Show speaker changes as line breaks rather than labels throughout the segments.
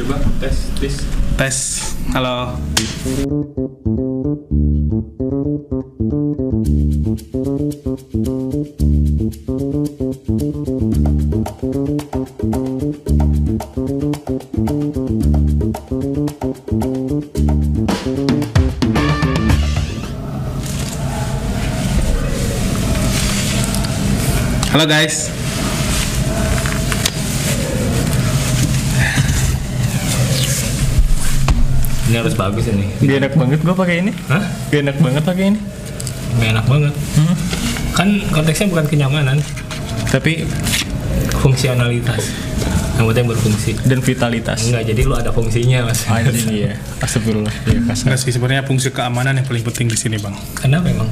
coba tes tes
Tes. Halo. Halo guys.
ini harus bagus ini
Gak enak banget gue pakai ini.
hah
Gak enak banget pakai ini.
Nggak enak banget
Hmm.
kan konteksnya bukan kenyamanan
Tapi
fungsionalitas yang penting berfungsi
dan vitalitas.
enggak jadi lu ada fungsinya mas
Anjing ya. Astagfirullah. Ya kasar.
Enggak sih sebenarnya fungsi keamanan yang paling penting di sini bang.
kenapa emang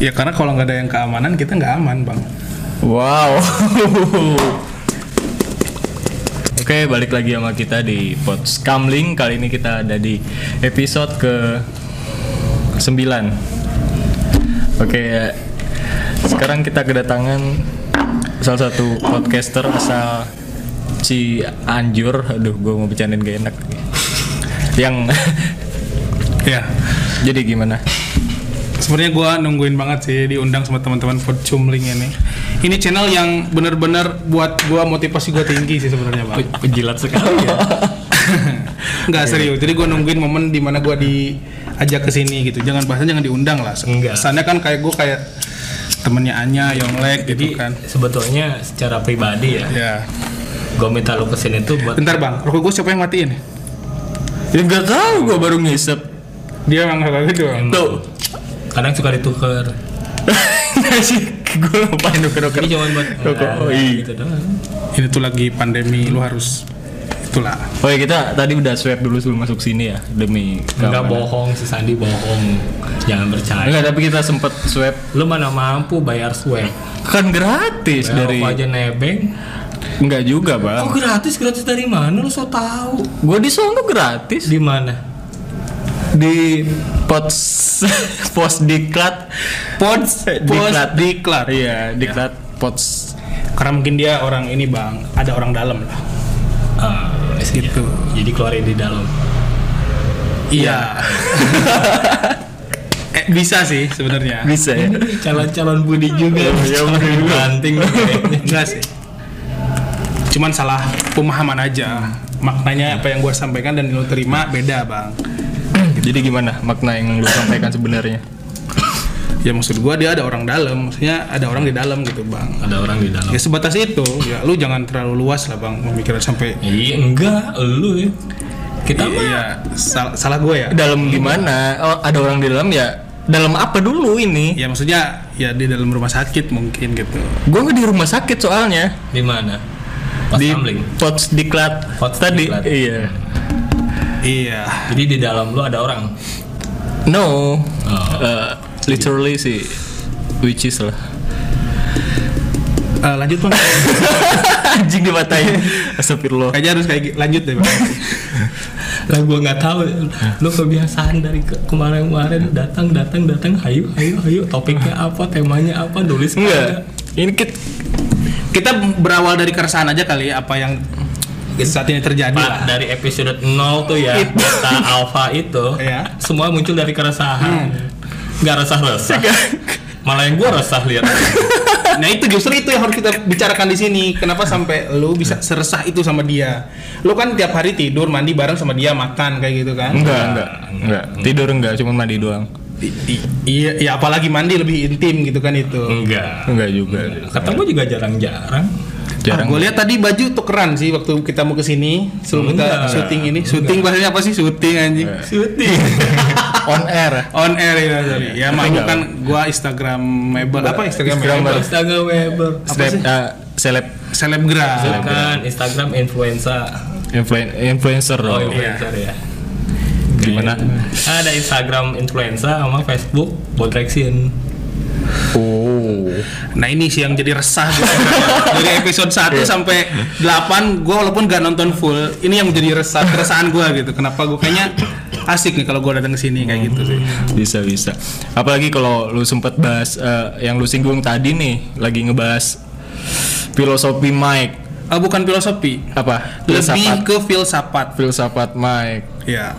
Ya karena kalau nggak ada yang keamanan kita nggak aman bang.
Wow. Oke, balik lagi sama kita di Pod Scamling. Kali ini kita ada di episode ke 9. Oke, ya. sekarang kita kedatangan salah satu podcaster asal Cianjur. Aduh, gue mau bercandain gak enak. Yang
Ya
jadi gimana?
sebenarnya gua nungguin banget sih diundang sama teman-teman Ford Cumling ini. Ini channel yang bener-bener buat gua motivasi gua tinggi sih sebenarnya bang.
Pe- penjilat sekali ya
Nggak serius. Jadi gua nungguin momen dimana gua diajak ke sini gitu. Jangan bahasnya jangan diundang lah.
Enggak.
Kesannya kan kayak gua kayak temennya Anya, Yonglek
jadi
gitu kan.
sebetulnya secara pribadi ya
Ya.
gue minta lu kesini tuh buat
Bentar bang, rokok gua siapa yang matiin?
Ya gak tau, gue baru ngisep.
Dia emang nggak gitu bang.
Hmm.
Tuh.
kadang suka ditukar
Nggak sih, gue lupain nuker-nuker.
ini cuma buat
Rokok,
Nah,
oh, iya.
gitu doang
Ini tuh lagi pandemi, lu harus itulah.
Oke Oh, iya, kita tadi udah swab dulu sebelum masuk sini ya demi
Enggak
keamanan.
bohong, si Sandi bohong. Jangan percaya.
Enggak tapi kita sempet swab
Lu mana mampu bayar swab?
kan gratis dari
Dari
Ah.
aja nebeng.
enggak juga bang.
Oh gratis, gratis dari mana? Lu so tau?
Gue di sono gratis
Di mana?
di pos pos diklat
Pods,
Diklat.
diklat.
iya diklat pots
Karena mungkin dia orang ini bang, ada orang dalam lah.
Ah, gitu. Jadi keluarin di dalam.
Iya. eh, bisa sih sebenarnya.
bisa ya.
Calon-calon Budi juga.
Ya,
Calon
Budi juga.
Banting.
Enggak sih. Cuman salah pemahaman aja. Maknanya apa yang gua sampaikan dan lu terima beda bang.
Jadi gimana makna yang lu sampaikan sebenarnya?
Ya maksud gua dia ada orang dalam, maksudnya ada orang di dalam gitu bang.
Ada orang di dalam.
Ya sebatas itu, ya lu jangan terlalu luas lah bang memikirkan sampai.
Iya, enggak. Lu ya. Kita mah
Iya, salah, salah gue ya.
Dalam gimana? Oh ada orang di dalam ya. Dalam apa dulu ini?
Ya maksudnya ya di dalam rumah sakit mungkin gitu.
Gue di rumah sakit soalnya.
di mana? Pas
di
tumbling.
Pots Diklat
Pots
tadi
Diklat.
iya
Iya.
Jadi di dalam lu ada orang.
no
Oh.
Eh, literally sih witches lah
Eh, lanjut bang.
anjing dipatahin astagfirullah
Kayaknya harus kayak gi- lanjut deh bang.
lah gua nggak tahu lu kebiasaan dari ke- kemarin-kemarin datang datang datang hayu hayu hayu topiknya apa temanya apa nulis
enggak ini kit
Kita berawal dari keresahan aja kali ya, apa yang saat ini terjadi
Pak,
lah.
dari episode 0 tuh ya kata alfa itu
Iya.
semua muncul dari keresahan nggak resah resah malah yang gua resah lihat
Nah itu justru itu yang harus kita bicarakan di sini. Kenapa sampai lu bisa seresah itu sama dia? Lu kan tiap hari tidur mandi bareng sama dia makan kayak gitu kan?
enggak enggak enggak tidur enggak cuma mandi doang
I- i- Iya, ya apalagi mandi lebih intim gitu kan
Hmm,
itu.
enggak
enggak juga
ketemu juga jarang-jarang
jarang
gue Ah, lihat tadi baju tukeran sih waktu kita mau kesini sebelum kita
Enggak. Eh.
syuting ini. Syuting bahasanya apa sih? Syuting anjing.
syuting
on air
On air ya, sorry. Ya
Tapi
maklum
nggak
kan gua Instagramable apa
Instagram
Instagramable?
Instagram Weber
Seleb, eh, seleb
Selebgram.
bukan Kan, Instagram influenza
influen- influencer
Oh,
dong.
influencer ya.
Gimana?
Ada Instagram influencer sama Facebook Botrexian.
oh
Nah ini sih yang jadi resah gua. dari episode 1 sampai 8 gua walaupun gak nonton full, ini yang jadi resah keresahan gua gitu. Kenapa gua kayaknya asik nih kalau gua datang ke sini kayak gitu sih.
bisa bisa apalagi kalau lu sempet bahas eh, yang lu singgung tadi nih lagi ngebahas filosofi Mike
Eh, bukan filosofi.
Apa?
Lebih
Filsafat.
ke filsafat.
Filsafat Mike.
Ya,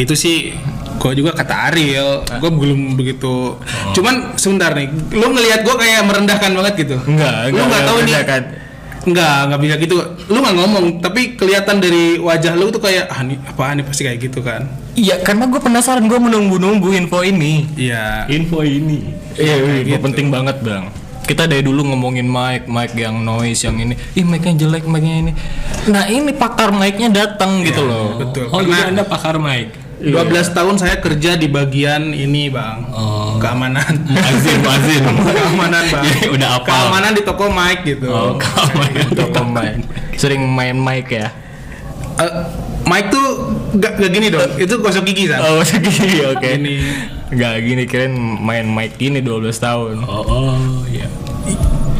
itu sih gue juga kata Ariel, gue belum begitu. Cuman sebentar nih, lo ngelihat gue kayak merendahkan banget gitu.
Enggak, enggak, enggak
Lo nggak
Eh, ya,
kan?
tahu nih.
kan?
merendahkan.
Enggak, nggak bisa gitu. Lu nggak ngomong, tapi kelihatan dari wajah lu tuh kayak ah nih apaan nih pasti kayak gitu kan.
Iya, karena gue penasaran gue menunggu-nunggu info ini.
Iya.
Info ini.
Iya, iya,
Kayak
iya,
gitu.
penting banget bang. Kita dari dulu ngomongin mic, mic yang noise, yang ini, ih mic-nya jelek, mic-nya ini. Nah ini pakar mic-nya datang gitu loh.
Betul.
Oh,
Karena-
jadi Anda pakar mic.
12 tahun saya kerja di bagian ini, Bang.
Oh.
Keamanan.
Azin, azin.
keamanan, Bang.
Jadi udah apa?
Keamanan di toko mic gitu.
Oh, keamanan.
Toko mic. Sering main mic ya.
Eh, mic tuh gak, gak gini dong. Itu gosok gigi, San.
Oh segini, oke.
Gini.
Gak gini keren main mic gini 12 tahun.
Oh, oh, iya.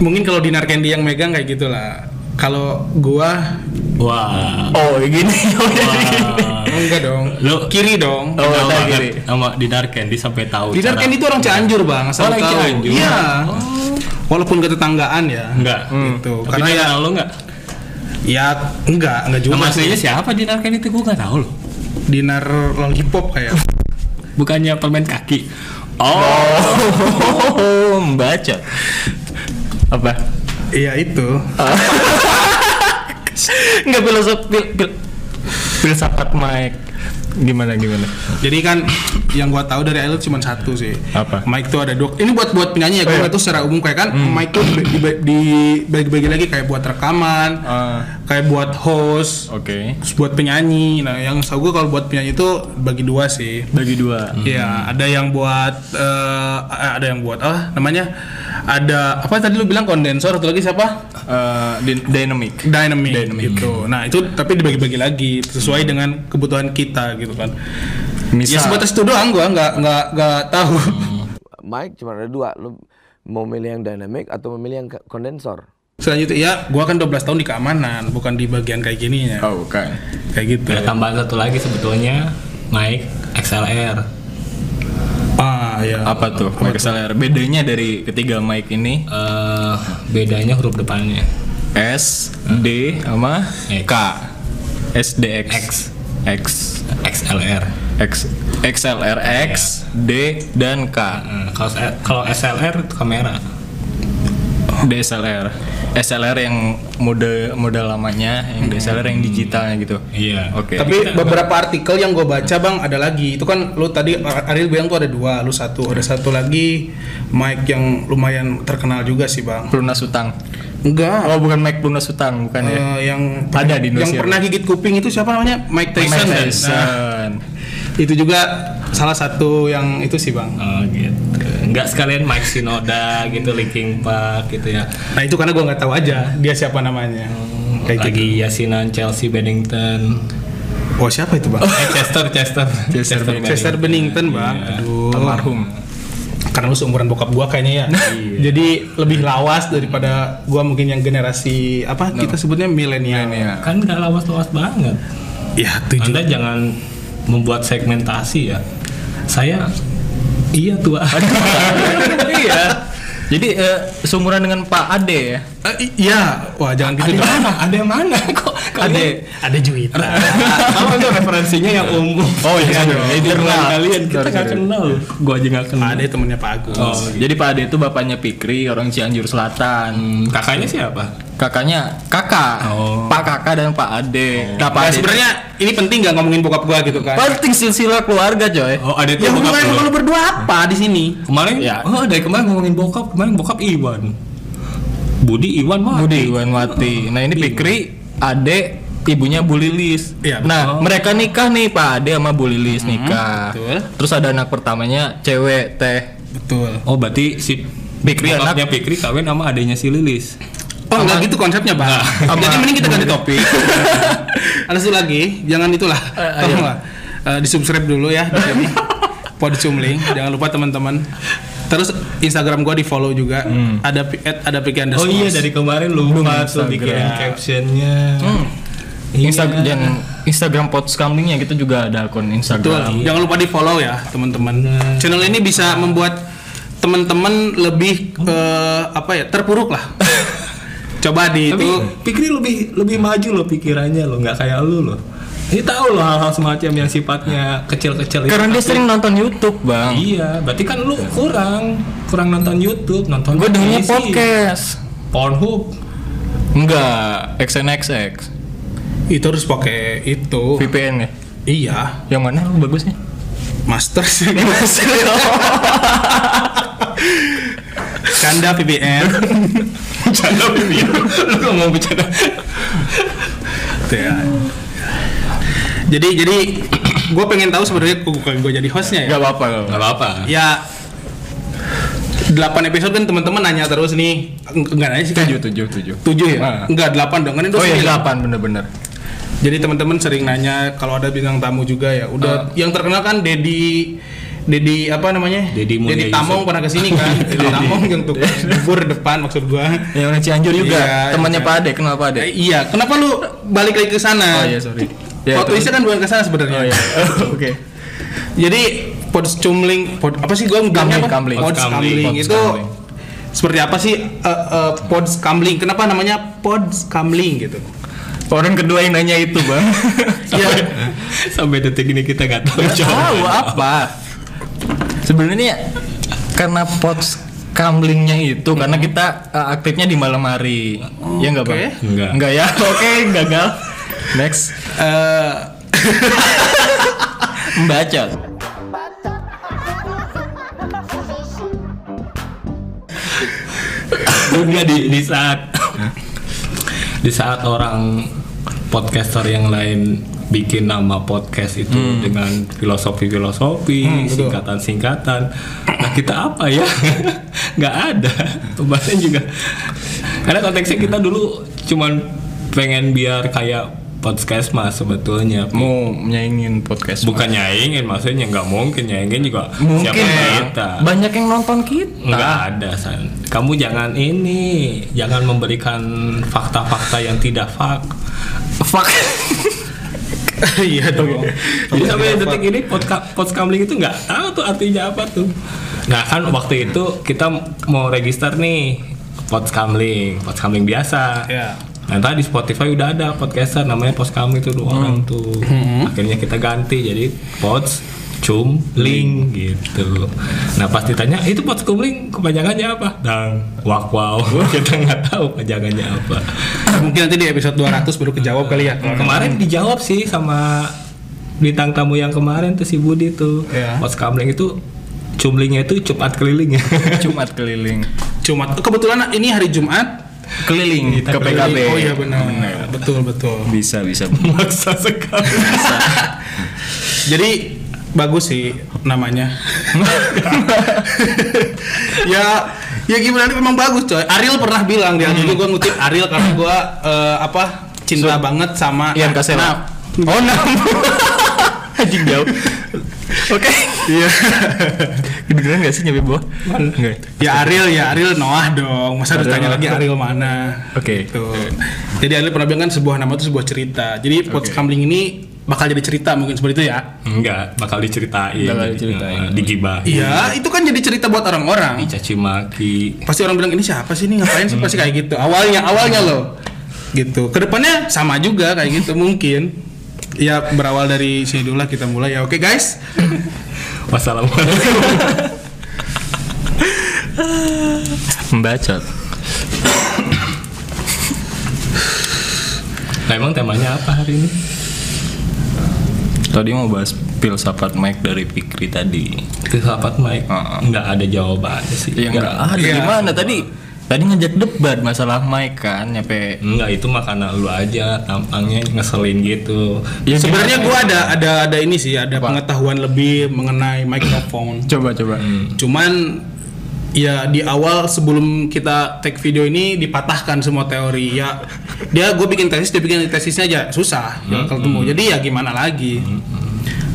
Mungkin kalau Dinar Candy yang megang kayak gitulah. Kalau gua
Wah.
Oh gini.
Wah.
enggak dong.
Oh. Lu-
kiri dong.
Oh,
Tahu
tadi
banget
gini.
sama Dinar Candy sampai tahu.
Dinar
cara-
Candy itu orang Cianjur, Bang. Asal
Oh, orang
tahu.
Cianjur.
Iya. Walaupun ketetanggaan ya.
enggak.
Gitu.
Tapi
Karena
dia
ya,
kenal lu enggak?
ya enggak, enggak juga.
Nama
sih.
aslinya siapa Dinar Candy itu gua enggak tahu loh.
Dinar lollipop kayak.
Bukannya permen kaki.
Oh, membaca. Apa?
Iya itu.
Enggak filsafat fil, fil- filsafat mic. Gimana gimana?
Jadi kan yang gua tahu dari Elliot cuma satu sih.
Apa?
Mike tuh ada dua. Ini buat buat penyanyi ya. Gua nggak tahu secara umum kayak kan Mike tuh di- di- dibagi-bagi lagi kayak buat rekaman,
Ah,
kayak buat host,
Oke.
terus buat penyanyi. Nah, yang tahu gua kalau buat penyanyi itu bagi dua sih.
Bagi dua. Hmm.
Ya, ada yang buat eh, ada yang buat ah namanya ada apa tadi lu bilang kondensor atau lagi siapa?
Eh, din- dynamic.
Dynamic,
Dynamic. Hmm.
gitu. Nah, itu tapi dibagi-bagi lagi sesuai dengan kebutuhan kita gitu kan. Ya
Misal. Hmm.
sebatas itu doang gua nggak nggak nggak tahu.
mic cuma ada dua lu mau milih yang dynamic atau memilih yang ke- kondensor
Selanjutnya ya gua kan 12 tahun di keamanan, bukan di bagian kayak gininya.
Oh, Iya. bukan.
Kayak gitu.
Ada tambahan satu lagi sebetulnya mic XLR.
Ah, ya.
Apa tuh? Mic SLR. Bedanya dari ketiga mic ini
Eh, bedanya huruf depannya.
S, D sama
X.
K. S D X
X.
X
XLR.
X XLR X D dan K.
Eh, Kalau S- kalau SLR itu kamera.
DSLR. SLR yang mode mode lamanya, yang DSLR yang digitalnya gitu.
Iya.
Oke.
Tapi beberapa artikel yang gue baca bang ada lagi itu kan lu tadi Ar- Ariel bilang tuh ada dua, lu satu ada satu lagi mic yang lumayan terkenal juga sih bang.
pelunas utang.
Enggak.
Oh, bukan mic pelunas utang, bukan ya.
eh, yang
Ada di
yang
Indonesia.
pernah gigit kuping itu siapa namanya Mike
Mic
Tyson. kan? Nah,
Tyson.
itu juga salah satu yang itu sih bang.
Oh gitu. Nggak sekalian Mike Sinoda gitu, Linkin Park gitu ya.
Nah itu karena gue nggak tahu aja dia siapa namanya. Kayak gitu.
Lagi Yasinan Chelsea Bennington.
Oh siapa itu bang?
Eh, Chester, Chester.
Chester
Bennington.
Chester Bennington bang. Aduh.
Iya, Almarhum.
Karena lu seumuran bokap gua kayaknya ya. Jadi lebih lawas daripada gua mungkin yang generasi apa kita sebutnya milenial.
Milenial.
Kan nggak lawas-lawas banget.
Ya tujuh.
Anda jangan membuat segmentasi ya. Saya iya tua.
iya. Jadi eh, seumuran dengan Pak Ade ya.
Eh, i- Iya, wah jangan gitu dong.
Ada yang mana kok?
Ade.
Ada Juwita.
Kalau itu referensinya yang umum.
Oh iya,
Kan,
dong.
Ini
Internal.
bukan kalian kita
Sorry,
nggak
sorry.
kenal. Gua aja nggak kenal.
Ada temennya Pak Agus.
Oh,
Jadi
gitu.
Pak Ade itu bapaknya Pikri, orang Cianjur Selatan.
Hmm, kakaknya siapa?
Kakaknya Kakak,
Oh.
Pak Kakak dan Pak Ade. Nah, Pak
Nah,
Ade
sebenarnya ini penting nggak ngomongin bokap gua gitu kan?
penting silsilah keluarga coy.
Oh, ada
Ya
itu bokap
hubungannya
lu.
sama lu berdua apa di sini?
Kemarin
Ya.
oh dari kemarin ngomongin bokap, kemarin bokap Iwan. Budi Iwan mah.
Budi Iwanwati. Nah ini Pikri, Ade, ibunya Bu Lilis.
Iya, betul. Mhm,
nah mereka nikah nih Pak Ade sama Bu Lilis nikah.
betul.
Terus ada anak pertamanya cewek Teh.
Betul.
Oh, berarti si
Pikri
bokapnya Pikri kawin sama adanya si Lilis.
Oh nggak gitu konsepnya bang. Jadi mending kita ganti topik. Ada satu lagi, jangan itulah. Tolonglah Eh, di subscribe dulu ya di sini. Podium link, jangan lupa teman-teman. Terus Instagram gua di follow juga. Ada pi- at- ada pikiran
Oh iya dari kemarin lupa tuh bikin captionnya. Iya.
Instagram dan Instagram Pots Kamlingnya kita juga ada akun
Betul.
Instagram.
Jangan lupa di follow ya teman-teman. Channel ini bisa membuat teman-teman lebih eh, apa ya terpuruk lah. Coba di
Tapi
itu
Pikri lebih lebih maju loh pikirannya loh, nggak kayak lu loh. Ini tahu loh hal-hal semacam yang sifatnya kecil-kecil. itu.
Karena dia sering nonton YouTube bang.
Iya, berarti kan lu kurang kurang nonton YouTube, nonton
Gue dengernya
Iya
televisi.
podcast.
Pornhub.
Enggak, XNXX,
itu harus pakai itu.
VPN ya.
Iya,
Yang mana lu bagusnya?
master sih. Canda PBN.
Bercanda VPN. Lu ngomong bercanda.
Tuh ya. Jadi jadi gue pengen tahu sebenarnya gue jadi hostnya ya.
Gak apa-apa. gak apa-apa.
apa-apa.
Ya 8 episode kan teman-teman nanya terus nih. Eng- Enggak nanya sih kan.
Tujuh, tujuh, tujuh.
7 ya?
Ah.
Enggak 8 dong. Kan ini
Oh iya,
sembilan.
delapan bener-bener.
Jadi teman-teman sering nanya kalau ada bintang tamu juga ya.
Ah.
Udah yang terkenal kan Dedi Dedi apa namanya?
Dedi Mulia
Dedi
Yusuf.
Tamong pernah kesini kan? Dedi Tamong yang tuh bubur depan maksud gua.
Yang orang Cianjur juga.
Iya,
Temannya
iya.
Pak Ade, kenal Pak Ade.
Eh, iya, kenapa lu balik lagi ke sana?
Oh iya, sorry.
Ya,
Ya,
Plot twistnya kan bukan ke sana sebenarnya.
Oh iya. Oke.
Jadi pod cumling pod apa sih gua bilangnya apa?
Kamling.
Pods
Pods
kamling.
kamling.
Pods
itu
kamling.
seperti apa sih eh, eh, pods kamling? Kenapa namanya pods kamling gitu?
Orang kedua yang nanya itu, Bang.
Iya.
Sampai, sampai detik ini kita nggak tahu
Tahu apa? Sebenarnya karena pots kamlingnya itu karena kita uh, aktifnya di malam hari. ya enggak,
Hmm. Oke.
Bang?
Enggak.
ya. Oke, gagal. Next,
Eh,
membaca.
dunia di, di saat di saat orang podcaster yang lain bikin nama podcast itu dengan filosofi-filosofi, singkatan-singkatan. Nah kita apa ya? Nggak ada. Pembahasan juga. Karena konteksnya kita dulu cuman pengen biar kayak podcast mas sebetulnya.
Mau nyaingin podcast.
Bukan nyaingin maksudnya nggak mungkin nyaingin juga
Mungkin ya.
siapa
Bang.
kita.
banyak yang nonton kita.
Nggak ada, San. Kamu jangan ini, jangan memberikan fakta-fakta yang tidak fak.
Fuck.
iya dong.
Jadi sampai detik ini podcast kamling itu nggak tahu tuh artinya apa tuh. Nah kan waktu itu kita mau register nih podcast kamling, podcast kamling biasa.
Ya.
Nah tadi di Spotify udah ada podcaster namanya Pods Kamling itu dua
Hmm.
orang tuh. Akhirnya kita ganti jadi Pods Cumling gitu. Nah pas ditanya itu Pods Cumling kepanjangannya apa? Dang wak wow kita nggak tahu kepanjangannya apa.
Mungkin nanti di episode 200 baru kejawab kali ya.
Oh,
Kemarin dijawab sih sama bintang tamu yang kemarin tuh si Budi tuh.
Iya.
Pods Kamling itu cumlingnya itu cepat keliling ya.
Jumat keliling.
Jumat. Kebetulan ini hari Jumat.
Keliling
Kita
ke PKB.
keliling.
Oh iya benar. Betul betul.
Bisa, bisa.
Maksa sekali.
Jadi bagus sih namanya. ya ya gimana nih memang bagus coy. Ariel pernah bilang dia
Hmm.
dulu gue ngutip Ariel karena gue apa cinta banget sama Nah,
Ian Kasela. Oh, enam. Anjing jauh. Oke. Iya. Kedengeran gak sih nyampe bawah? Enggak.
Ya Ariel ya Ariel Noah dong. Masa harus
Ariel
tanya
Noah.
lagi Ariel mana?
Oke.
Gitu. Jadi Ariel pernah bilang kan sebuah nama itu sebuah cerita. Jadi Pot Kamling ini bakal jadi cerita mungkin seperti itu ya.
Hmm.
Enggak, bakal diceritain.
Bakal diceritain.
Eh, digibahin.
Iya, itu kan jadi cerita buat orang-orang.
Dicaci maki.
pasti orang bilang ini siapa sih ini ngapain sih pasti kayak gitu awalnya awalnya loh gitu kedepannya sama juga kayak gitu mungkin ya berawal dari sini dulu lah kita mulai ya oke guys
Wassalamualaikum.
Membacot.
Nah, emang temanya apa hari ini?
Tadi mau bahas filsafat Mike dari Fikri tadi.
Filsafat Mike.
Heeh.
Nggak ada jawabannya sih.
Ya enggak ada
Iya.
gimana tadi? Tadi ngajak debat masalah Mike kan nyampe
Enggak, itu mah karena lu aja tampangnya ngeselin gitu.
Ya,
sebenarnya gua ada ada ada ini sih ada
Apa?
pengetahuan lebih mengenai microphone
coba coba.
cuman ya di awal sebelum kita take video ini dipatahkan semua teori ya dia gue bikin tesis dia bikin tesisnya aja susah ya kalau ketemu jadi ya gimana lagi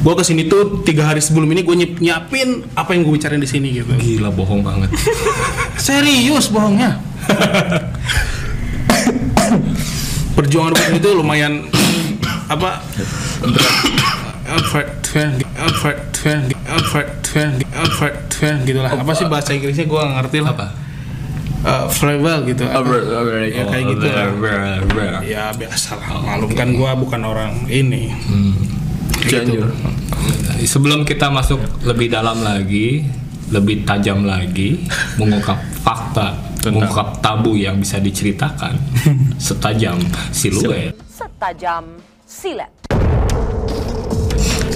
gue kesini tuh tiga hari sebelum ini gue nyiapin apa yang gue bicarain di sini gitu
Gila bohong banget.
serius bohongnya perjuangan gue itu lumayan apa effort effort effort effort effort effort gitulah apa sih bahasa Inggrisnya gue nggak ngerti lah
Apa? Oh,
eh, flavor gitu. Ya kayak gitu lah.
Rare, rare.
Ya biasa lah. Malum kan gua bukan orang ini.
Cianjur.
Sebelum kita masuk lebih dalam lagi, lebih tajam lagi, mengungkap fakta, mengungkap tabu yang bisa diceritakan setajam siluet.
setajam silet.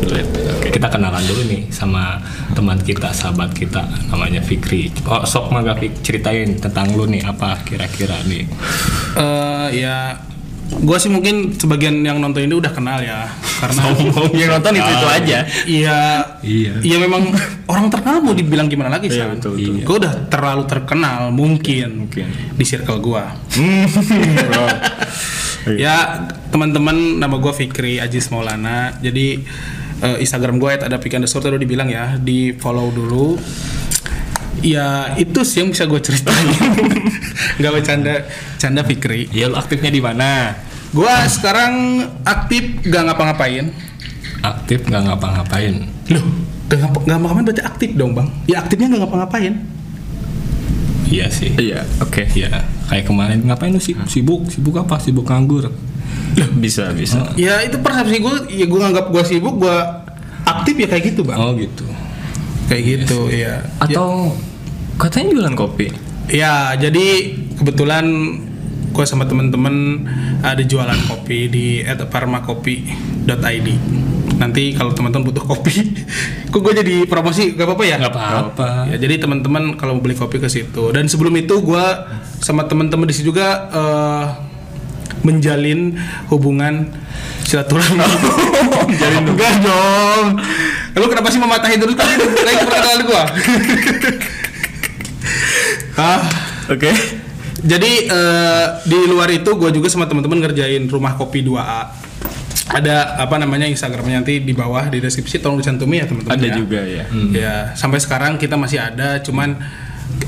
Silet.
Kita kenalan dulu nih sama teman kita, sahabat kita, namanya Fikri. Oh, sok mah Fik, ceritain tentang lu nih apa kira-kira nih.
Eh ya gua sih mungkin sebagian yang nonton ini udah kenal ya karena
Yang nonton itu itu aja.
Iya.
Iya.
Iya memang orang terkenal mau dibilang gimana lagi sih?
Iya, betul, betul. Iya,
Gue udah terlalu terkenal mungkin,
Mungkin.
di circle gua.
Bro. Iya.
Ya teman-teman nama gua Fikri Ajis Maulana. Jadi eh, Instagram gue ada Fikri underscore tadi udah dibilang ya di follow dulu. Ya itu sih yang bisa gue ceritain. Gak bercanda, canda Fikri.
Ya lu aktifnya di mana?
Gua sekarang aktif gak ngapa-ngapain.
Aktif nggak ngapa-ngapain.
Loh, gak, ngapa- gak ngapa-ngapain berarti aktif dong bang. Ya aktifnya gak ngapa-ngapain.
Iya Hmm. sih.
Iya, oke.
Iya, kayak kemarin ngapain lu sih? sibuk? Sibuk apa? Sibuk nganggur. Oh.
Bisa, bisa.
Ya itu persepsi gue, ya gue nganggap gue sibuk, gue aktif ya kayak gitu bang.
Oh gitu.
Kayak gitu, ya.
Atau katanya jualan kopi.
Ya, jadi kebetulan gue sama temen-temen ada jualan kopi di @farmakopi.id. Nanti kalau teman-teman butuh kopi, kok gue jadi promosi gak apa-apa ya?
Nggak apa-apa.
Ya, jadi teman-teman kalau mau beli kopi ke situ. Dan sebelum itu gue sama teman-teman di situ juga eh, menjalin hubungan silaturahmi. menjalin enggak dong. Lu kenapa sih mematahin dulu tadi lagi perkenalan gue? ah,
Oke.
jadi eh, di luar itu gue juga sama teman-teman ngerjain rumah kopi 2A. Ada apa namanya Instagramnya nanti di bawah di deskripsi tolong dicantumin ya teman-teman.
Ada
ya.
juga ya.
Ya sampai sekarang kita masih ada, cuman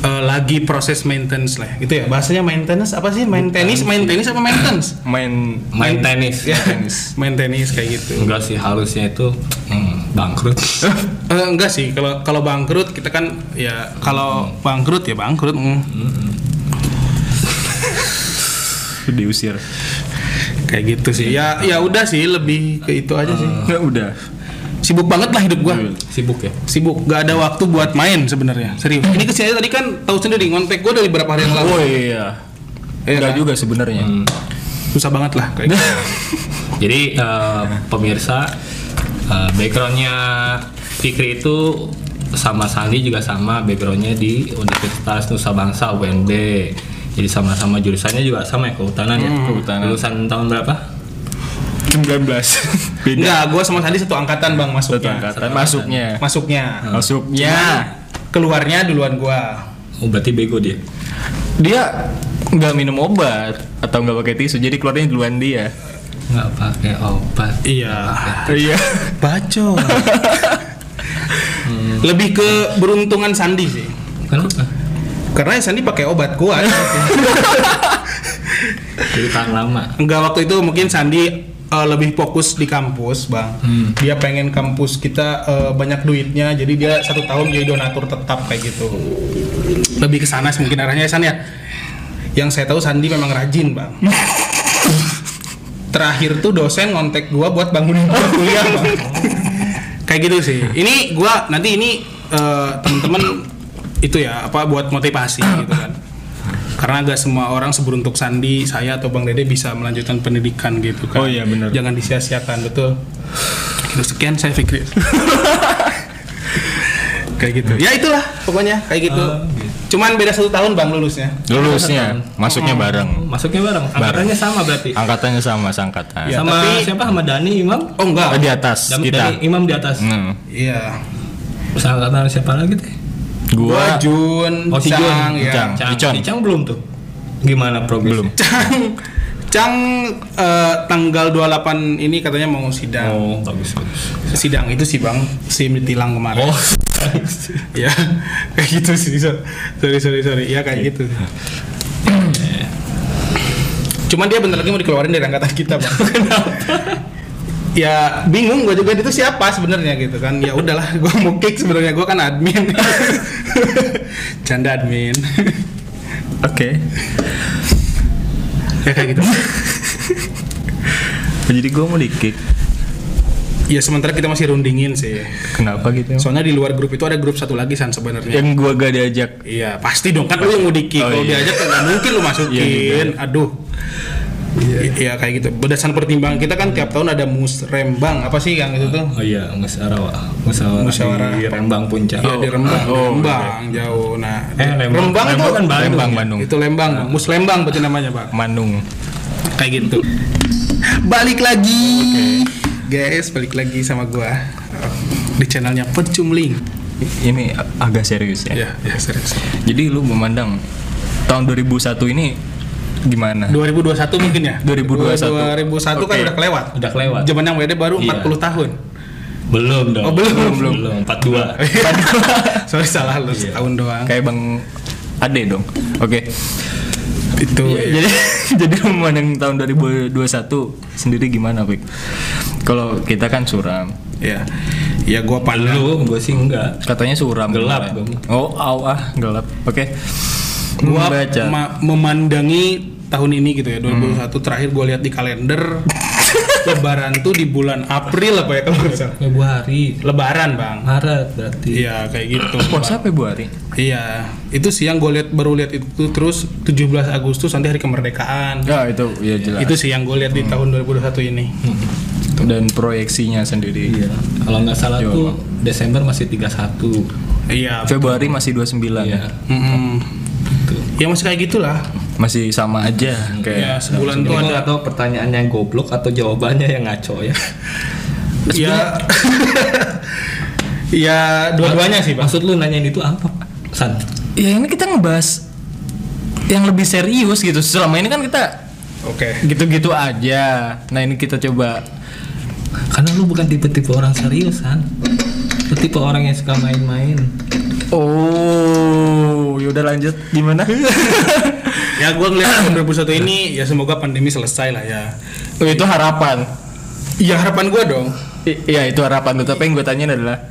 eh, lagi proses maintenance lah, gitu ya. Bahasanya maintenance apa sih? Main tenis, main tenis apa maintenance?
Main
Main tenis.
Ya, main tenis kayak gitu.
Enggak sih harusnya itu hmm, bangkrut.
Eh, enggak sih, kalau kalau bangkrut kita kan ya kalau bangkrut ya bangkrut. mm.
diusir.
Kayak gitu sih. Ya ya udah sih lebih ke itu aja sih.
Nggak udah.
Sibuk banget lah hidup gua.
Sibuk ya?
sibuk gak ada waktu buat main sebenarnya serius ini kesini aja tadi kan tahu sendiri ngontek gue dari berapa hari yang lalu
Oh iya.
Iya
Enggak
kan?
juga sebenarnya.
susah banget lah kayak gitu.
Jadi eh, pemirsa eh, backgroundnya Fikri itu sama Sandi juga sama backgroundnya di Universitas Nusa Bangsa UNB. Jadi sama-sama jurusannya juga sama ya kehutanan ya.
kehutanan.
Lulusan tahun berapa?
19. Beda
enggak gue sama Sandi satu angkatan bang
satu
masuknya
angkatan. Masuknya. Hmm. Ya.
masuknya
Masuknya.
keluarnya duluan gue
Oh berarti bego dia.
Dia nggak minum obat atau nggak pakai tisu jadi keluarnya duluan dia.
Nggak pakai obat.
iya
Iya.
baco
Hmm.
lebih ke beruntungan Sandi sih
Kenapa?
karena Sandi pakai obat gue
Jadi tahan lama.
Enggak waktu itu mungkin Sandi eh, lebih fokus di kampus bang.
Hmm.
Dia pengen kampus kita eh, banyak duitnya, jadi dia satu tahun jadi donatur tetap kayak gitu. Lebih ke sana sih mungkin arahnya ya, San ya. Yang saya tahu Sandi memang rajin bang. Terakhir tuh dosen ngontek gua buat bangunin gua kuliah bang. kayak gitu sih. Ini gua nanti ini eh, temen-temen itu ya apa buat motivasi gitu kan karena gak semua orang seberuntuk Sandi, saya atau Bang Dede bisa melanjutkan pendidikan gitu kan.
Oh iya, benar.
Jangan disia-siakan, betul. Gitu, sekian saya Fikri. kayak gitu. Ya itulah pokoknya kayak gitu. Cuman beda satu tahun Bang lulusnya.
Lulusnya, masuknya bareng. Iya.
Masuknya bareng. Angkatannya sama berarti.
Angkatannya sama sangkatan.
Ya,
sama
tapi-
siapa? Sama Dani Imam?
Oh
Oh, di
enggak.
atas
Dam-
kita.
Dani Imam di atas.
Hmm.
Iya.
Terus angkatan siapa lagi teh?
Gua
Gua
Jun,
Oh, si Jun.
Cang, ya.
Cang. Icon.
Icang belum tuh. Gimana progresnya?
Belum.
Cang. Cang eh, tanggal 28 ini katanya mau sidang.
Oh, bagus bagus.
Sidang itu sih Bang, si ditilang kemarin.
Oh,
ya kayak gitu sih so- sorry sorry sorry ya kayak gitu cuman dia bentar lagi mau dikeluarin dari angkatan kita bang ya bingung gue juga itu siapa sebenarnya gitu kan ya udahlah gue mau kick sebenarnya gue kan admin canda admin
Oke.
ya kayak gitu
Jadi gue mau dikik.
ya sementara kita masih rundingin sih
Kenapa gitu?
soalnya di luar grup itu ada grup satu lagi san sebenarnya
yang gue gak diajak.
iya pasti dong kan lu yang mau dikik
Oh,
kalau
iya.
diajak kan nggak mungkin lu
Iya
masukin aduh I- Iya kayak gitu. Berdasarkan pertimbangan kita kan tiap tahun ada musrembang apa sih yang itu tuh?
Oh iya, musyawarah. Musyawarah,
Musyawarah.
di Rembang Puncak.
Iya di Rembang,
oh,
Rembang jauh. Nah,
Eh, Lembang.
Rembang,
Lembang
tuh
kan Bandung.
Lembang,
ya?
Bandung.
itu Lembang, Mus Lembang berarti namanya pak.
Manung.
Kayak gitu. Balik lagi, guys, balik lagi sama gua di channelnya Pecumling.
I- Ini ag- agak serius ya.
Ya, ya serius.
Jadi lu memandang tahun 2001 ini gimana?
2021 mungkin ya?
2021.
2001 kan
Oke.
udah kelewat.
Udah kelewat.
Zaman yang WD baru
Iya.
40 tahun.
Belum dong.
Oh, belum. Eh.
belum. belum. 42.
Sorry salah lu setahun doang.
Kayak Bang Ade dong. Oke.
Itu. ya.
jadi jadi lu memandang tahun 2021 sendiri gimana, Pik? Kalau kita kan suram.
Ya. Ya gua pandang Iya.
Belum, gue sih enggak.
Katanya suram.
Gelap,
kemarin.
Bang.
Oh, aw, ah, gelap. Oke.
gua
Membaca.
ma- memandangi tahun ini gitu ya 2021 terakhir gua lihat di kalender lebaran tuh di bulan April apa ya kalau nggak salah
Februari,
lebaran bang
Maret berarti.
iya kayak gitu
Puasa Februari.
iya itu siang gua lihat baru lihat itu terus 17 Agustus nanti hari kemerdekaan
Ya, itu ya jelas.
itu siang gua lihat di tahun 2021 ini
dan proyeksinya sendiri.
Iya. Kalau nggak salah
Jawa
tuh Desember masih 31.
iya
Februari masih 29
Iya.
ya.
Mm-mm.
Gitu.
ya masih kayak gitulah
Masih sama aja
ya
kayak
sebulan tuh
Gue
ada
nggak tahu pertanyaannya yang goblok atau jawabannya yang ngaco ya.
ya ya dua-duanya sih bang
Maksud lu nanyain itu apa, Pak? San?
ya ini kita ngebahas yang lebih serius gitu. Selama ini kan kita
oke
gitu-gitu aja. Nah, ini kita coba
Karena lu bukan tipe-tipe orang serius, San. Lu tipe orang yang suka main-main.
Oh, yaudah lanjut gimana?
ya gue ngeliat tahun 2021 ini ya semoga pandemi selesai lah ya
oh, itu harapan.
ya harapan gue dong
I- Iya, itu harapan lu. Tapi yang gue tanyain adalah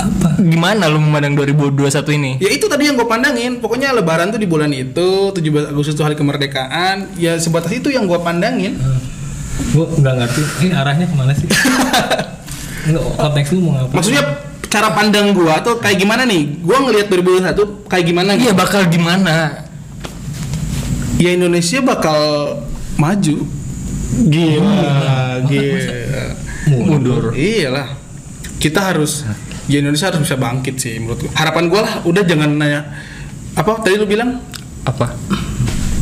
apa? Gimana lu memandang 2021 ini?
ya itu tadi yang gue pandangin pokoknya lebaran tuh di bulan itu 17 Agustus tuh hari kemerdekaan ya sebatas itu yang gue pandangin
Gue nggak ngerti. Ini arahnya kemana sih? Enggak, konteks lu mau ngapain?
maksudnya cara pandang gue tuh kayak gimana nih gue ngelihat 2021 kayak gimana
Iya,
gitu.
bakal gimana?
ya Indonesia bakal maju gila gila
Mundur.
iyalah kita harus ya Indonesia harus bisa bangkit sih menurut gue harapan gue lah udah jangan nanya apa tadi lu bilang
Apa?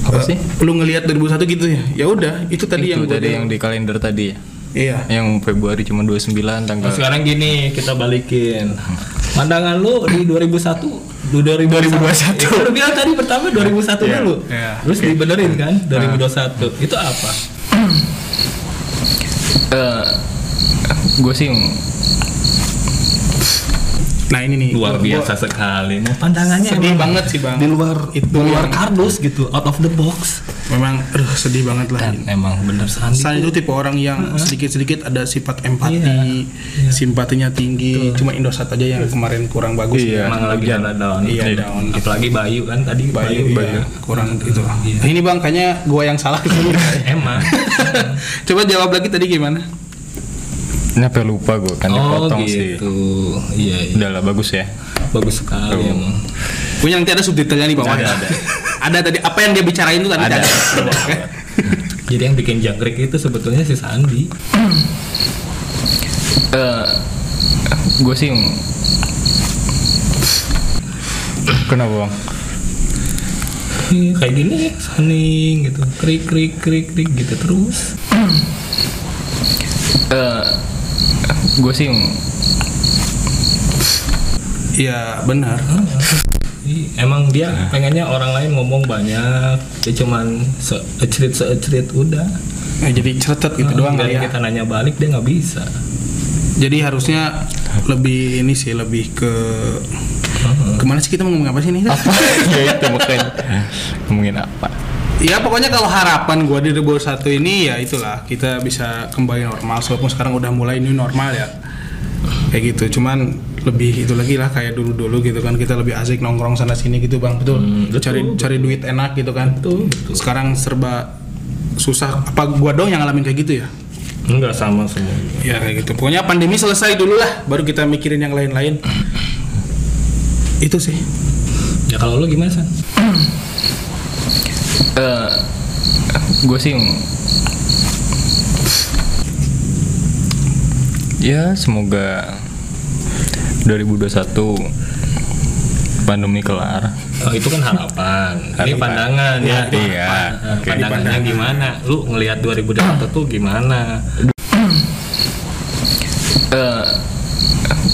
Apa sih?
lu ngelihat 2001 gitu ya ya udah itu tadi yang
itu
gua
tadi
bilang.
yang di kalender tadi ya
iya
yang Februari cuma 29
Nah,
tanggal
sekarang gini, kita balikin. Pandangan lu di 2001 di
2021.
Itu lu bilang tadi pertama 2001 dulu.
iya. Nah.
Terus dibenerin kan 2021. Itu apa?
gue sih
nah ini nih
Luar
gua-
biasa sekali. Nah, pandangannya
gua sedih
emang
banget sih bang
di luar
itu
di luar kardus gitu, out of the box.
memang aduh sedih banget lah
Kan, Emang bener sandi.
San itu tipe orang yang sedikit-sedikit ada sifat empati,
Iya.
simpatinya tinggi. Cuma Indosat aja yang kemarin kurang bagus.
Iya.
Emang lagi ada down.
Iya, down.
Apalagi Bayu Iya. kan tadi
Bayu, iya, kurang itu. Nah, ini bang, kayaknya gua yang salah keseluruhan.
Emang.
Coba jawab lagi tadi gimana?
kenapa lupa gue kan
oh
dipotong sih
gitu. Iya, iya.
udah lah bagus ya
Bagus sekali emang.
Punya nanti ada subtitlenya nih bawah.
Ada, ada.
Ada tadi apa yang dia bicarain itu tadi
Ada.
Jadi yang bikin jangkrik itu sebetulnya si Sandi.
gue Eh, sih kenapa bang
Iya, kayak gini saning gitu krik krik krik krik gitu terus
gue sih
Iya benar.
Ih, emang dia pengennya orang lain ngomong banyak dia cuman cerit cerit udah
Eh, jadi cerita gitu doang
Dan
kali ya.
kita nanya balik dia nggak bisa
Jadi harusnya lebih ini sih lebih ke kemana sih kita mau ngomong apa sih ini?
ya itu makanya ngomongin apa
Ya pokoknya kalau harapan gua di 2021 ini ya itulah kita bisa kembali normal. Walaupun sekarang udah mulai new normal ya. kayak gitu cuman lebih itu lagi lah kayak dulu dulu gitu kan kita lebih asik nongkrong sana sini gitu bang betul cari cari duit enak gitu kan sekarang serba susah apa gua dong yang ngalamin kayak gitu ya
Enggak sama semua.
ya kayak gitu pokoknya pandemi selesai dulu lah baru kita mikirin yang lain-lain itu sih
Ya kalau lu gimana, San?
gue sih ya semoga 2021 pandemi kelar
Oh, itu kan harapan.
Harapan.
Ini pandangan
Iya,
ya.
iya.
Harapan.
Oke.
Pandangannya gimana? Lu ngelihat 2021 tuh gimana?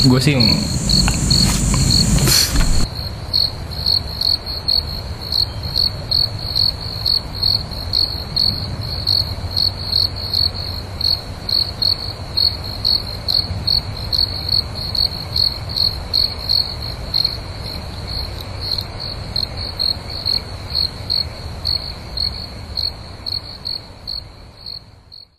gue sih